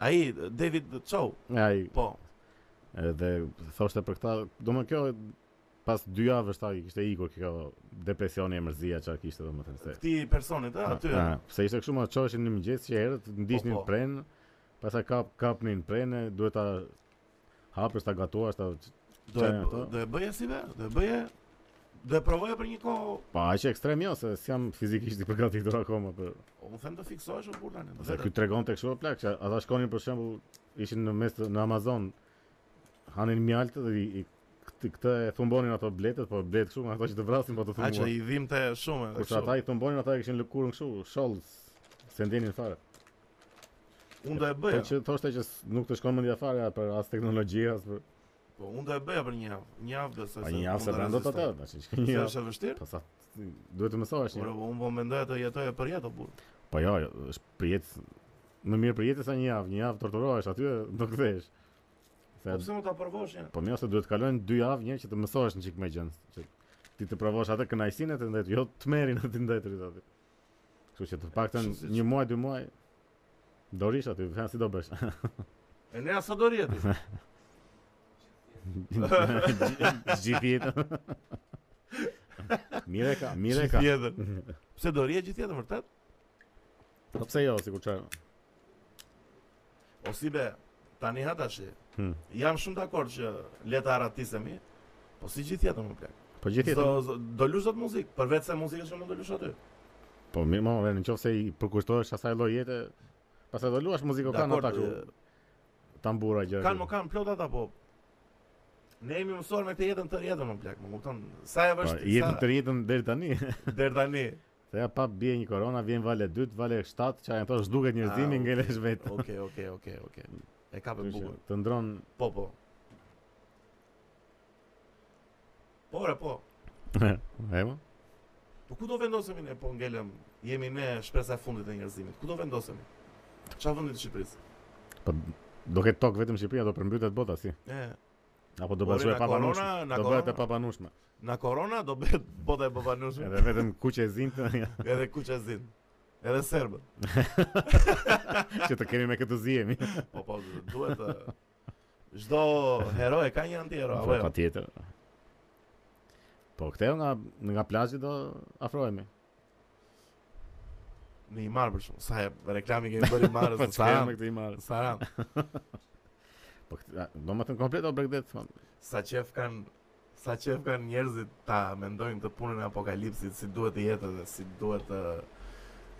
B: Ai David Chow,
A: Ai
B: po,
A: edhe thoshte për këtë, domethënë kjo pas dy javësh ta i kishte ikur kjo depresioni e mrzia çfarë kishte domethënë se.
B: këti personit, a, aty.
A: A, pse ishte kështu më çoheshin në mëngjes që herët ndiqnin
B: Po, po.
A: pren, pastaj kap kapnin prenë, duhet ta hapësh ta gatuash ta
B: Do e
A: Çfarë janë ato?
B: do e bëje si ve, do e bëje do e provoje për një kohë.
A: pa aq ekstrem jo se s'jam fizikisht i përgatitur akoma për.
B: Unë them të fiksohesh o burr tani.
A: Ose
B: vetëm.
A: ky tregonte kështu o plak që ata shkonin për shembull ishin në mes të- në Amazon hanin mjaltë dhe i, i këtë, këtë e thumbonin ato bletët, po bletë kështu me ato që të vrasin po të
B: A që
A: thumbuan.
B: i dhimte Po shumë edhe
A: Kurse ata
B: kështu.
A: i thumbonin, ata i kishin lëkurën kështu, sholl se ndjenin fare.
B: Unë do e
A: Po
B: bëja.
A: që thoshte që s- nuk të shkon mendja fare a, për as teknologji as për
B: Po unë do e bëja për një javë, një javë do se.
A: a
B: Po se
A: një javë
B: unë
A: se
B: do
A: brenda të
B: rezistoj.
A: atë, tash që një
B: Se
A: javë.
B: është e vështirë?
A: Po sa duhet të mësohesh
B: Ora,
A: një.
B: po, unë po mendoja të jetoje për jetë o burr.
A: Po jo, jo, është për jetë më mirë për jetë se sa një javë, një javë torturohesh aty do kthehesh.
B: Po
A: Se
B: pse mund ta provosh një?
A: po më ose duhet të kalojnë 2 javë një që të mësohesh një çik më gjën, që ti të provosh atë kënaqësinë të ndaj, jo të merrin atë ndaj të aty. Kështu që të paktën
B: Kështu si-
A: një muaj, dy muaj do rish aty, fjan si do bësh.
B: E ne sa do rjeti.
A: Gjithë jetën. Mire ka, mire ka.
B: Tjetër. Pse do rje gjithë jetën vërtet?
A: Po pse jo, sikur çfarë?
B: O si be, tani ha tash.
A: Hmm.
B: Jam shumë dakord që le të aratisemi. Po si gjithë jetën më plak.
A: Po gjithë
B: Do
A: jetën.
B: z- do lush dot muzikë, përveç se muzikës që mund të lush aty.
A: Po mirë, më vjen nëse i përkushtohesh asaj lloj jete, pastaj do luash muzikë kanë ata ku
B: e,
A: tambura gjëra.
B: kanë më
A: kështu.
B: kanë plot ata po. Ne jemi mësuar me këtë jetën tërë jetën më plak, më kupton? Sa e
A: Po,
B: vështirë.
A: jetën të jetën deri tani.
B: deri tani.
A: Se ja pa bie një korona, vjen vale 2, vale 7, çfarë ato zhduket njerëzimi
B: Ah,
A: ngelesh vetë.
B: Okej, okej, okej, okej. E kapë
A: Kështu që
B: bukur.
A: Të ndron
B: Po, po. Po, ore, po.
A: e mo?
B: Po ku do vendosemi ne po ngelem? Jemi ne shpresa e fundit e njerëzimit. Ku do vendosemi? Çfarë vendi të Shqipërisë?
A: Po do ketë tok vetëm Shqipëria do përmbytet bota si.
B: E,
A: Apo do
B: Ore,
A: bëhet e
B: na
A: papanushme.
B: korona, na
A: Do bëhet e
B: korona.
A: papanushme.
B: na korona do bëhet bota e babanushme.
A: Edhe vetëm kuqe e zinë.
B: Edhe kuq e zin. Edhe serbët.
A: që të kemi me këtë zihemi.
B: Po po, duhet të çdo hero e ka një antihero, apo jo?
A: Patjetër. Po këthe nga nga plazhi do afrohemi.
B: Në Imar për shumë, sa e reklami kemi bërë Imarës,
A: Po
B: në
A: çfarë me
B: Saran,
A: këtë imar?
B: në Saran.
A: Po këtë, do më të komplet o po. breakdet.
B: Sa qef kanë, sa qef kanë njerëzit ta mendojnë këtë punën e apokalipsit, si duhet të jetë dhe si duhet të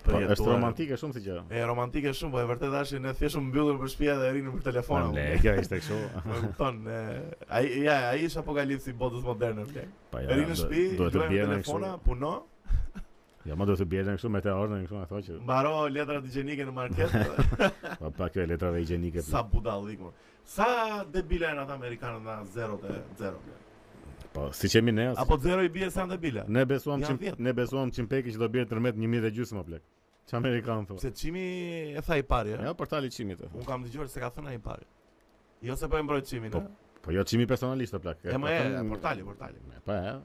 A: Po
B: përjetuar.
A: është romantike shumë si gjë.
B: E romantike shumë, po e vërtet ashin ne thjesht u mbyllur për shtëpi dhe rinim për telefon.
A: Ne, kjo ishte kështu.
B: Më kupton, e, ai ja, ai është apokalipsi i botës moderne blek.
A: Po
B: Ja, rinë në shtëpi,
A: duhet të
B: luajmë me
A: bjerë
B: telefona,
A: kështu.
B: puno,
A: Jo, më duhet të bjerë kështu me teorën kështu, ato që
B: mbaro letrat higjienike në market.
A: po pa kjo e letrave higjienike.
B: sa budallik më. Sa debila janë ata amerikanët na 0 te 0.
A: Po siç jemi ne. as-
B: Apo 0 i bie sa debila.
A: Ne besuam
B: Janë
A: qim,
B: vjetë.
A: ne besuam Qimpeki që do bjerë tërmet 1000 e gjysmë plek. Ç'a amerikan thua?
B: Pse çimi e tha i pari, ja?
A: Jo, portali çimit. e.
B: Un kam dëgjuar se ka thënë ai i pari. Jo se po e mbroj çimin,
A: Po,
B: ha?
A: Po jo çimi personalisht o plak.
B: E më e,
A: Atë-
B: portali, portali.
A: Po e.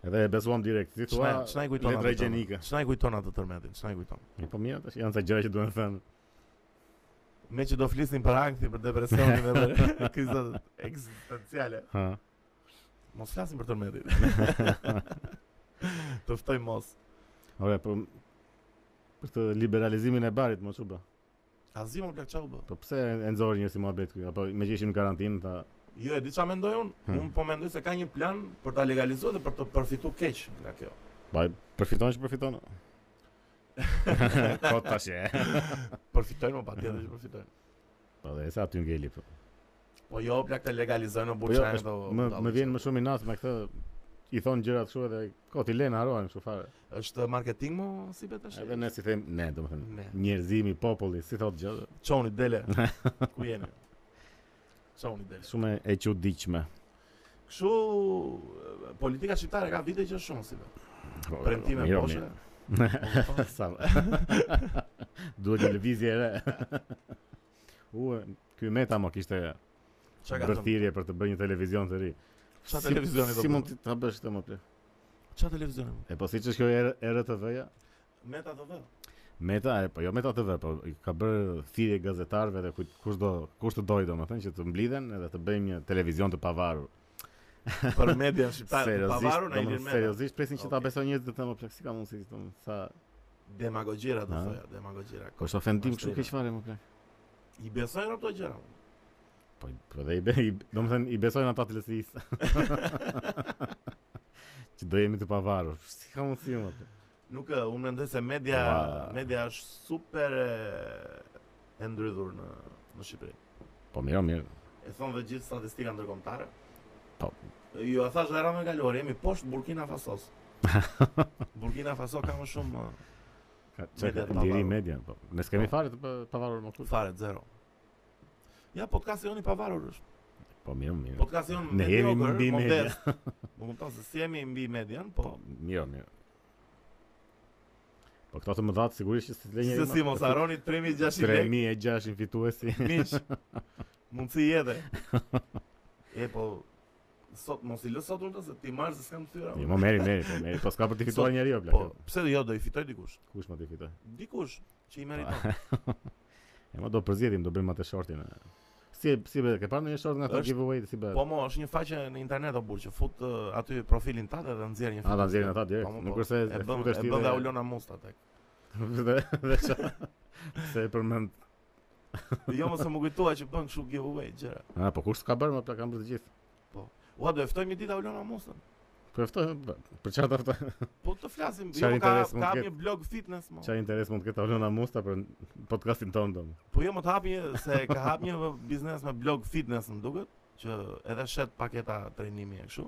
A: Edhe e besuam direkt. Ti thua.
B: Ç'na ç'na i kujton
A: letra
B: atë?
A: higjienike.
B: tërmet? Ç'na i kujton atë tërmetin? Ç'na i kujton?
A: E, Po mirë, tash janë sa gjëra që duhen thënë.
B: Me që do flisnin për ankthi, për depresionin dhe për krizat eksistenciale.
A: Ha.
B: Mos flasim për tërmetin. të ftoj mos.
A: Ore, po për të liberalizimin e barit, më çu bë.
B: Azi më plak çau bë.
A: Po pse e nxorri njësi muhabet këtu? Apo me që ishim në karantinë ta
B: Jo, e di çfarë mendoj unë.
A: Hmm.
B: Unë po mendoj se ka një plan për ta legalizuar dhe për të përfituar keq nga kjo.
A: pa përfiton që përfiton. po tash e.
B: Përfitojnë më patjetër që përfitojnë.
A: Po dhe sa aty ngeli po.
B: Po jo, plak të legalizojnë në
A: Po jo,
B: Buçan
A: është-
B: do.
A: më
B: do-
A: më vjen më shumë i natë me këtë i thon gjërat kështu edhe koti Lena harohen kështu fare.
B: është marketing mo si beta
A: Edhe
B: tash.
A: ne si them, ne domethënë
B: Ne.
A: njerëzimi, populli, si thotë gjë,
B: Çoni dele. Ku jeni? Çoni dele.
A: shumë e çuditshme.
B: Kështu e, politika shqiptare ka vite që është shumë si vetë.
A: Po,
B: Premtime
A: mirë,
B: poshe.
A: mirë. Sa. Duhet një lëvizje e re. U, ky Meta më kishte
B: Çka ka thënë?
A: bërthirje për të bërë një televizion të ri.
B: Çfarë
A: Si-
B: televizioni
A: Si
B: do bëjmë?
A: mund ti ta bësh këtë më plot?
B: Çfarë televizioni?
A: E po siç është kjo RTV-ja,
B: Meta TV.
A: Meta, e, po jo Meta TV, po i ka bërë thirrje gazetarëve dhe kujt kush do, kush të dojë domethënë që të mblidhen edhe të bëjmë një televizion të pavarur.
B: Për media shqiptare të pavarur në Ilir
A: domethënë,
B: Meta.
A: seriozisht presin që ta
B: Okej.
A: besojnë njerëzit të më plot, si ka mundësi domethënë sa
B: Demagogjira do
A: Ha.
B: thoja, demagogjira.
A: kush ofendim kështu
B: Vazhdojnë.
A: keq fare më plot.
B: I besojnë ato gjëra. mo.
A: Po po dhe i be, i- domethënë i besojnë ata të lësisë. që do jemi të pavarur. Si ka mundësi më plot?
B: Nuk, ë, unë mendoj se media
A: Ua.
B: media është super e, e ndrydhur në në Shqipëri.
A: Po mirë, mirë.
B: E thonë dhe gjithë statistika ndërkombëtare.
A: Po.
B: Ju a thash dhe radhën e kaluar, jemi poshtë Burkina Fasos. Burkina Faso ka më shumë uh, ë,
A: Ka
B: Media
A: çka
B: të
A: diri
B: pavarur.
A: media, po. Ne s'kemi fare të pa- pavarur më kujt.
B: fare zero. Ja, po podcasti jon i pavarur është.
A: Po mirë, mirë.
B: Podcasti jon
A: Ne jemi mbi media.
B: Më po kupton se si jemi mbi median, po
A: mirë, mirë. Po këto të më dhatë sigurisht që si të lenjë.
B: se si mos harroni 3600 lekë.
A: 3600 fituesi.
B: Miq. Mundsi jetë. E po sot mos i lë sot ulta se ti marr se s'kam thyra.
A: Jo, më merri, merri, po merri, po s'ka për të fituar
B: Sot-
A: njeriu apo
B: Po,
A: plak.
B: pse jo do i fitoj dikush?
A: Kush më të fitoj?
B: Dikush që i meriton.
A: E më do përzjedim, do bëjmë atë shortin. e. Si si be, ke parë ndonjë short nga ato
B: Është-
A: giveaway si be?
B: Po mo, është një faqe në internet o burr që fut ë, aty profilin tatë dhe nxjerr
A: A
B: një
A: Ah, ta
B: foto.
A: nxjerrin ata direkt.
B: Po, mo,
A: Nuk
B: po.
A: është se
B: E
A: e
B: bën
A: futesh
B: e
A: ti.
B: bën
A: dhe-
B: dhe Ulona Musta tek.
A: Dhe dhe ça. Se e përmend.
B: Jo mos e më kujtoa që bën kështu giveaway gjëra.
A: A, po kush s'ka bërë më plak kanë për të gjithë.
B: Ua do e ftoj një ditë Ulona Mustën.
A: Po e ftoj, po, për çfarë ta ftoj?
B: Po të flasim,
A: Çfarë
B: jo ka
A: interes mund
B: ka
A: t'ket?
B: një blog fitness mo.
A: Çfarë interes mund të ketë Olona Musta për podcastin tonë domun.
B: Po jo më të hapi se ka hap një biznes me blog fitness më duket, që edhe shet paketa trajnimi e kështu.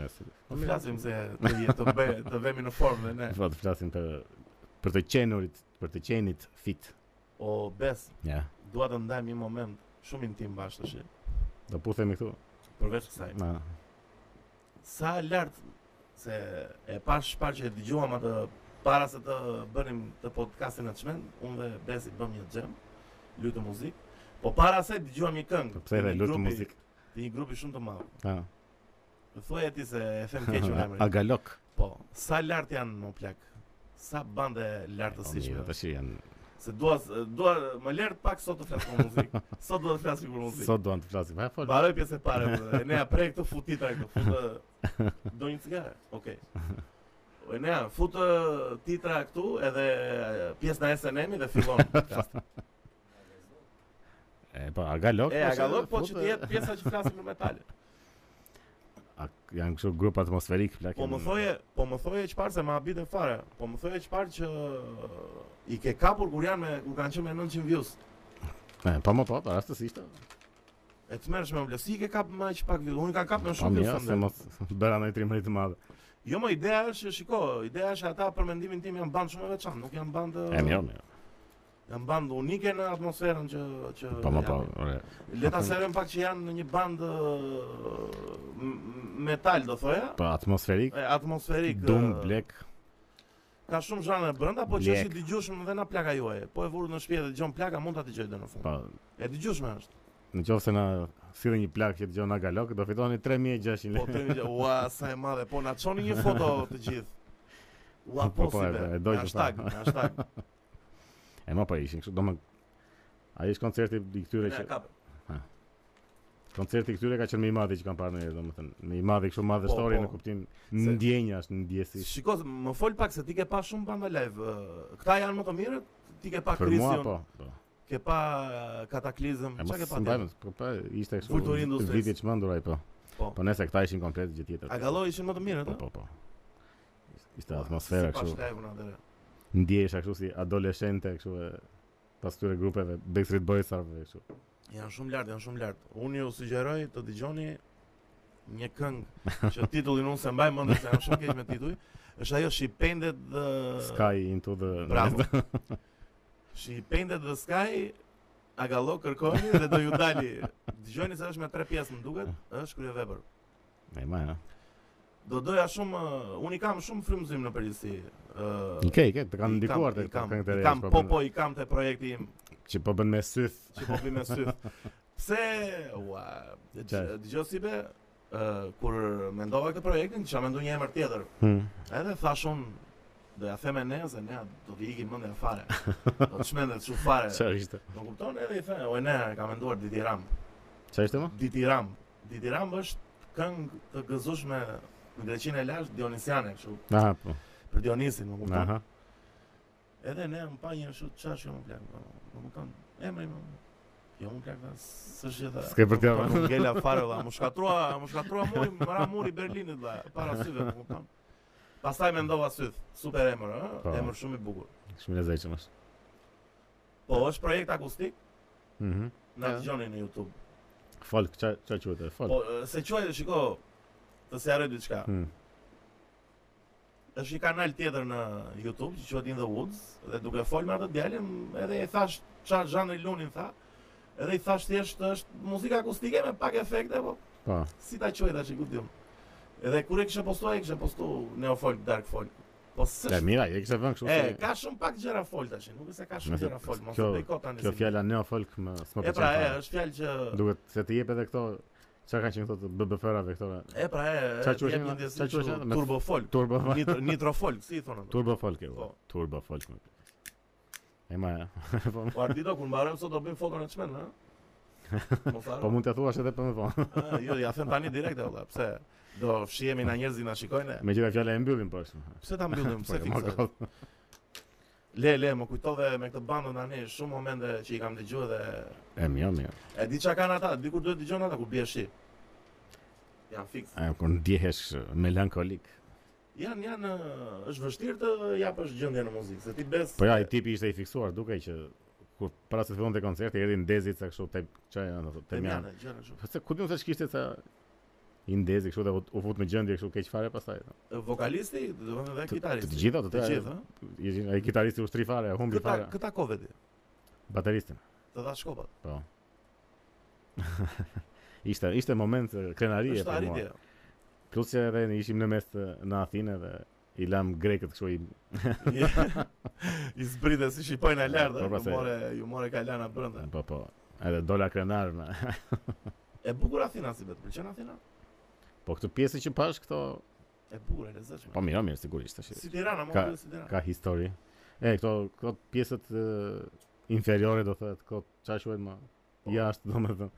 A: Ja, si.
B: Po flasim se të jetë të bëj të vemi në formë dhe ne.
A: Po të flasim për për të qenurit, për të qenit fit.
B: O bes,
A: Ja.
B: dua të ndajmë një moment shumë intim bash tash.
A: Do puthemi këtu.
B: Përveç kësaj,
A: Na.
B: sa lart se e pash parë që e dëgjuam atë para se të bënim të podcastin e çmend, unë dhe Besi bëm një xhem, lutë muzikë, po para se dëgjuam një këngë.
A: Po pse
B: të
A: edhe
B: një
A: lut
B: grupi-
A: muzikë.
B: Të një grupi shumë të madh.
A: Ha.
B: Thuaj ti se e them keq unë emrin.
A: Agalok.
B: Po, sa lart janë më plak? sa bande lartësishme.
A: Tash janë
B: Se dua dua më lër pak sot të flas për muzikë. Sot do të flasim për muzikë.
A: sot duan të flasim. Ha fol.
B: Mbaroj pjesë e parë. më, E nea prej këtë futi tani këtu. Fut ë, do një cigare. Okej. Okay. E nea fut ë, titra këtu edhe ë, pjesën e SNM-i dhe fillon. podcasti.
A: E po, Argalok.
B: e a gallop po
A: fut,
B: që të jetë pjesa që flasim për metale.
A: a- Janë kështu grup atmosferik plak.
B: Po më thoje, po më thoje çfarë se ma habitën fare. Po më thoje çfarë që i ke kapur kur janë me kur kanë qenë me 900 views.
A: Po më po, rastësisht.
B: E të merresh me vlesi si i ke kap më që pak views. Unë i kam kap më
A: Po
B: shumë views.
A: mirë,
B: se
A: se
B: më
A: mos bëra ndaj trimëri të madhe.
B: Jo, më ideja është, shiko, ideja është ata për mendimin tim janë bandë shumë e veçantë, nuk janë bandë
A: E mirë, mirë.
B: janë bandë unike në atmosferën që që
A: Po më po,
B: japin.
A: ore.
B: Le ta serem pak që janë në një bandë ë, m- m- metal do thoja,
A: Po atmosferik,
B: e, atmosferik. ë,
A: dum, blek.
B: Ka shumë zhanre brenda, po që
A: Black.
B: është i dëgjueshëm dhe na plaka juaje. Po e vurë në shtëpi dhe dëgjon plaka, mund ta dëgjoj deri në fund.
A: Po
B: E dëgjueshme është.
A: në qoftë se na sillni një plak që dëgjon Argalok, do fitoni 3600
B: Po
A: lekë.
B: të një, ua, sa e madhe, po na çoni një foto të gjithë. Ua,
A: Po,
B: po,
A: po,
B: si
A: e-
B: be,
A: e doj
B: me
A: që tha.
B: hashtag, me hashtag,
A: E më po ishin kështu, domethënë ai është koncerti i këtyre
B: me
A: që
B: kap.
A: koncerti i këtyre ka qenë më i madhi që kam parë ndonjëherë, domethënë më i madhi kështu madhështori
B: Po, po.
A: në kuptim
B: Se-
A: ndjenjash, ndjesish.
B: Shiko, më fol pak se ti ke pa shumë banda live. ë, Këta janë më të mirët? Ti ke pa
A: Për mua
B: Krision,
A: po, po.
B: ke pa ë, Kataklizëm,
A: E mos
B: çka ke pa
A: mbajmë,
B: ti?
A: po po ishte
B: Kulturë
A: kështu.
B: industrisë.
A: Viti që mendur ai po.
B: Po.
A: Po nëse këta ishin komplet gjë tjetër.
B: A gallo ishin më të mirët?
A: Po
B: ë?
A: po po. Ishte
B: Ua,
A: atmosfera
B: Po, si
A: kështu.
B: pash live-un atëre.
A: Ndjesha kështu si adoleshente kështu e pas këtyre grupeve Backstreet Boys-ave kështu.
B: Janë shumë lart, janë shumë lart. Unë ju sugjeroj të dëgjoni një këngë që titullin unë se mbaj mend se jam shumë keq me tituj. Është ajo She Painted the
A: Sky into the
B: Bravo. She Painted the Sky A gallo kërkoni dhe do ju dali. Dëgjoni se është me tre pjesë, më duket, është kryevepër.
A: E ma, ja.
B: Do doja shumë, uh, unë i kam shumë frymëzim në uh, përgjithësi. ë,
A: I ke, i ke, të kanë
B: i kam-
A: ndikuar të
B: i kam-
A: këngët e
B: i
A: reja
B: Kam
A: që
B: po
A: bën-
B: po i kam te projekti im
A: që po bën me syth.
B: që po bëj me sy. Pse ua,
A: Qa?
B: dëgjoj si be ë, kur mendova këtë projektin, kisha menduar një emër tjetër.
A: Hmm.
B: Edhe thash unë do ja them ne se ne do të ikim mendja fare. Do të shmendet çu fare.
A: Çfarë ishte?
B: Do kupton edhe i them, o ne ka menduar Diti Ram.
A: Çfarë ishte më?
B: Diti Ram. Diti Ram është këngë të gëzueshme në greqinë e lashtë dionisiane, kështu
A: Aha, po.
B: për Dionisin, më kupton.
A: Aha.
B: Edhe ne më pa një kështu çash jo më plak. po, Po më kanë emri më. Jo më plak, tha, s'është gjë. tha.
A: S'ke për t'ja,
B: Po,
A: va.
B: Nuk ngela fare valla, më shkatrua, më shkatrua muri, më ra muri i Berlinit valla, para syve, më kupton. Pastaj mendova syth, super emër,
A: Po.
B: ëh, emër shumë i bukur.
A: Shumë e lezetshëm është.
B: Po, është projekt akustik,
A: Mhm.
B: na
A: Ja.
B: dëgjoni në YouTube.
A: Folk, çfarë çfarë quhet? e? Folk.
B: Po, e, se quaj, shiko, të se harroj diçka.
A: Hmm.
B: Është një kanal tjetër në YouTube që quhet In the Woods dhe duke fol me atë djalin edhe i thash çfarë zhanri lunin tha. Edhe i thash thjesht është muzikë akustike me pak efekte, po
A: Po.
B: si ta quaj tash i kuptim. Edhe kur e kisha postuar, e kisha postu neo folk, dark folk. Po
A: E
B: s'është
A: mira, e kisha vënë kështu.
B: E,
A: se-
B: ka shumë pak gjëra fol tash, nuk është se ka shumë
A: Nëse-
B: gjëra fol, mos
A: kjo-
B: e bojkot tani.
A: Kjo
B: si-
A: fjala neo folk më s'më
B: E pra, e,
A: fare.
B: është fjalë që
A: Duhet se të jep edhe këto çka kanë qenë këto të BBF-rave këto.
B: E pra, e,
A: Qa
B: e,
A: quhesh
B: jep
A: nga-
B: një ndjesi
A: qa quhesh
B: kështu,
A: nga- me-
B: turbo folk,
A: Turbo
B: nitro, nitro folk, si i thonë. ato.
A: turbo folk e.
B: Po.
A: po. Turbo folk. më. E ma, ja. po
B: Po Ardito kur mbarojmë sot do bëjmë foton e çmen, ha? Mos
A: Po
B: harro.
A: mund t'ia thuash edhe për më vonë.
B: Ah, Jo, ja them tani direkt e valla, pse do fshihemi na njerëzit na shikojnë. e?
A: Me gjitha fjala e mbyllim po ashtu.
B: Pse ta mbyllim,
A: Po,
B: pse
A: e ma
B: fiksohet?
A: kollë.
B: Le, le, më kujtove me këtë bandën tani shumë momente që i kam dëgjuar dhe
A: E mirë, mirë.
B: e di çka kanë ata, dikur duhet dëgjojnë ata kur bie shi. Jan fiks.
A: E, kur ndjehesh melankolik.
B: Jan, jan, ë, është vështirë të japësh gjendje në muzikë, se ti bes.
A: Po ja, i tipi ishte i fiksuar, dukej që kur para se të fillonte koncerti erdhi ndezit sa kështu te çaj janë ato te mjan.
B: Temjane, gjëra kështu.
A: Po se ku diun se ç'kishte sa i ndezi kështu dhe u- u fut në gjendje kështu keq fare pastaj.
B: Vokalisti, domethënë dhe
A: Të- Të të
B: kitaristi.
A: gjitha të
B: Të
A: tre.
B: gjithë,
A: Ishin ai kitaristi ushtri fare, e humbi
B: Këta
A: fare.
B: këta kove ti,
A: Bateristin.
B: të dha shkopat.
A: Po. ishte ishte moment e, krenarie
B: Është
A: për mua.
B: arritje.
A: Plus që edhe ne ishim në mes të- në Athinë dhe i lam grekët kështu i
B: I zbritë si shqipojnë e lardë,
A: Po, pra
B: ju
A: se-
B: more, ju more kalana brënda.
A: po po. Edhe dola krenar me.
B: E bukur Athina si vetë, pëlqen Athina?
A: Po këtë pjesë që pash këto
B: e bukur, e lezetshme.
A: Po mirë, mirë, sigurisht tash.
B: Si Tirana, më
A: Ka-
B: duhet si Tirana.
A: Ka histori. E këto këto pjesët e, inferiore do thotë, këto çfarë quhet më
B: Po.
A: jashtë domethënë.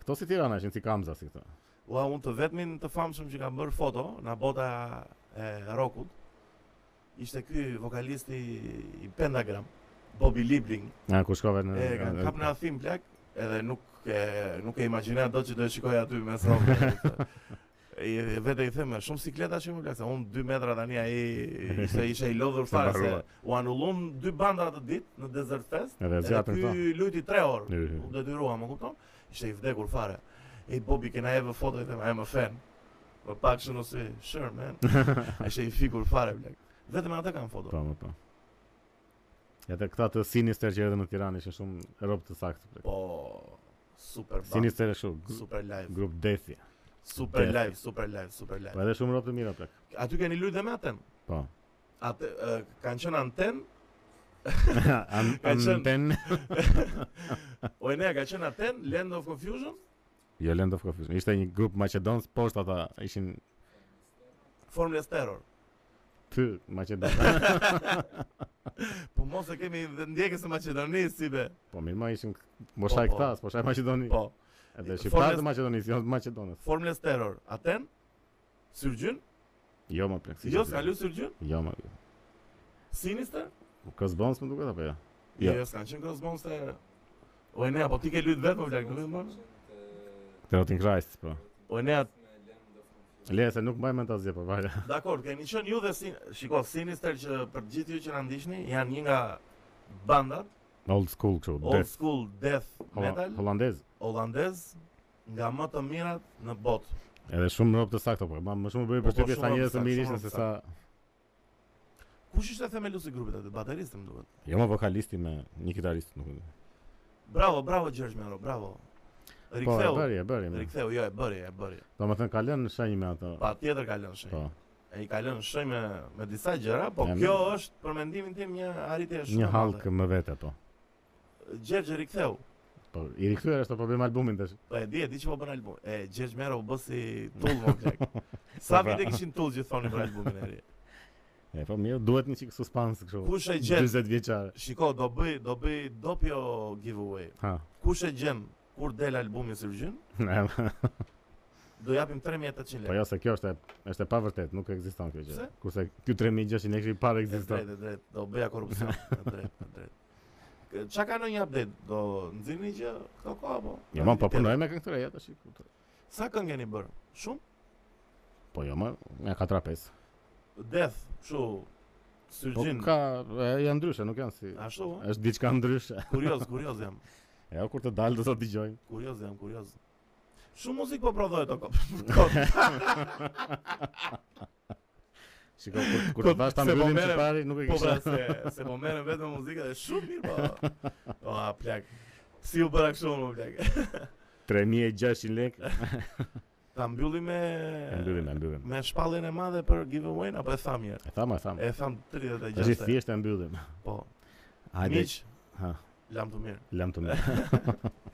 A: Këto si Tirana ishin si Kamza si këto.
B: Ua, unë të vetmin të famshëm që kam bërë foto në bota e rockut ishte ky vokalisti i Pentagram, Bobby Libling.
A: Ja ku shkove në
B: Mm, E kanë kap në Athim plak, edhe nuk e nuk e imagjinoj dot që do të shikoj aty me sa. I vetë i them shumë sikleta që më plak, se unë 2 metra tani ai ishte ishte i lodhur
A: Se
B: fare se
A: mbarua.
B: u anullun dy banda atë ditë në Desert Fest.
A: Edhe
B: Edhe
A: zjatën këto.
B: ky lujti 3 orë.
A: Hy, hy.
B: U detyrua, më kupton? Ishte i vdekur fare. E Bobi kena e vë foto i them, I'm a fan. Po pak shën ose sure man. Ai ishte i fikur fare blek. Vetëm atë kanë foto.
A: Po, më po. Edhe këta të Sinister që edhe në Tiranë ishin shumë rob të saktë. plak.
B: Po super band,
A: Sinister është shumë gru-
B: super live,
A: grup dethi.
B: super
A: Death.
B: live, super live, super
A: Po
B: live.
A: edhe shumë rob të mira plak.
B: Aty keni lujtë dhe me aten.
A: Po.
B: Atë e, kanë qenë anten,
A: An
B: Ka qenë-
A: anten.
B: ONE ka qenë anten, Land of Confusion,
A: Jo Land of Confusion. Ishte një grup maqedonës, poshtë ata ishin
B: Formless Terror.
A: ty maqedon.
B: Po mos e kemi dhe ndjekës në Maqedoni, si be.
A: po mirë, më ishin moshaj
B: Po, po.
A: këta, moshaj Maqedoni.
B: Po,
A: Edhe
B: Formes-
A: shqiptarë të Maqedonisë, jo të Maqedonës.
B: Formless Terror, Aten, Syrgjyn,
A: Jo më plak. si
B: jo
A: që
B: s'ka
A: plak.
B: lu Syrgjyn,
A: Jo më.
B: Sinister,
A: Kosbons më duket apo jo?
B: jo,
A: Jo.
B: jo s'kan qenë Crossbone se... O Enea, po ti ke lujtë vetë, po vlak, nuk e më?
A: Terotin Christ, po.
B: O Enea,
A: Le se nuk mbaj mend asgjë po vaje.
B: dakor, keni qenë ju dhe Sin... Shiko, Sinister që për gjithë ju që na ndishni, janë një nga bandat,
A: Old school kështu,
B: old
A: death.
B: school death
A: Hola-
B: metal,
A: Holandez.
B: holandez, nga më të mirat në botë.
A: Edhe shumë rob të sakto, po ma- më shumë bëri
B: Po, po,
A: përshtypje
B: shumë
A: sa
B: rob
A: njerëz
B: të
A: të
B: saktë,
A: mirë
B: shumë
A: ishin
B: rob
A: se
B: të
A: sa
B: Kush ishte themelusi i grupit atë? Bateristi më duhet.
A: jo më vokalisti me një kitarist nuk. e di.
B: Bravo, bravo Gjergj Mero, bravo.
A: Po, e
B: Riktheu,
A: bëri, e bëri. mirë.
B: riktheu, jo e bëri, e bëri.
A: Domethënë ka lënë shenjë me ato.
B: Pa tjetër ka lënë shenjë.
A: Po.
B: E i ka lënë shenjë me, me disa gjëra, po
A: Ja,
B: kjo
A: mirë.
B: është për mendimin tim një arritje shumë
A: Një
B: e madhe.
A: halk më vete po.
B: Gjergj e riktheu.
A: Po i rikthyer është problem albumin tash.
B: Po e di, e di që po bën album. E Gjergj Mero u bë si tull më plak. Sa
A: Po, pra.
B: vite kishin tull gjithmonë për albumin e ri.
A: E po mirë, duhet një çik suspans kështu.
B: Kush e gjen?
A: 40 vjeçare.
B: Shiko, do bëj, do bëj dopio giveaway.
A: Ha.
B: Kush e gjen kur del albumi i Sirgjyn, do japim 3800
A: Po
B: lekë.
A: jo se kjo është e, është e pavërtet, nuk ekziston kjo gjë.
B: Pse?
A: Kurse ky 3600 lekë i parë
B: E
A: ekziston.
B: drejt, e drejt, do bëja korrupsion. E drejt, e drejt. Kë- Qa ka në një update? Do nëzirni që këto kohë, po?
A: Jo, më po punoj me këngëtore ja tash. kuptoj.
B: Sa këngë keni bërë? Shumë?
A: Po jo, më nga 4-5.
B: Death, shu,
A: Po
B: syrgjin.
A: ka e, janë ndryshe, nuk janë si
B: Ashtu, ë?
A: është diçka ndryshe.
B: Kurioz, kurioz jam.
A: Jo, kur të dalë do të dëgjojmë.
B: Kurioz jam, kurioz. Shumë muzikë po prodhoj të kopë.
A: Shiko, kur, kur
B: Po,
A: të bash ta
B: se po
A: mbyllim
B: merrem-
A: çipari nuk e
B: po pra,
A: kisha.
B: se, se po merem vetëm me muzikë dhe shumë mirë, po. O, a, plak. Si u bëra kështu më plak. pra.
A: 3600 lekë.
B: Ta mbylli me...
A: E mbyllim, e mbyllim.
B: Me shpallin e madhe për giveaway-n, apo e tham mirë?
A: E thamë, e thamë.
B: E tham 36.
A: Gjithë thjesht e mbyllim.
B: Po.
A: Hajde,
B: Miq,
A: Ha.
B: lam të mirë.
A: lam të mirë.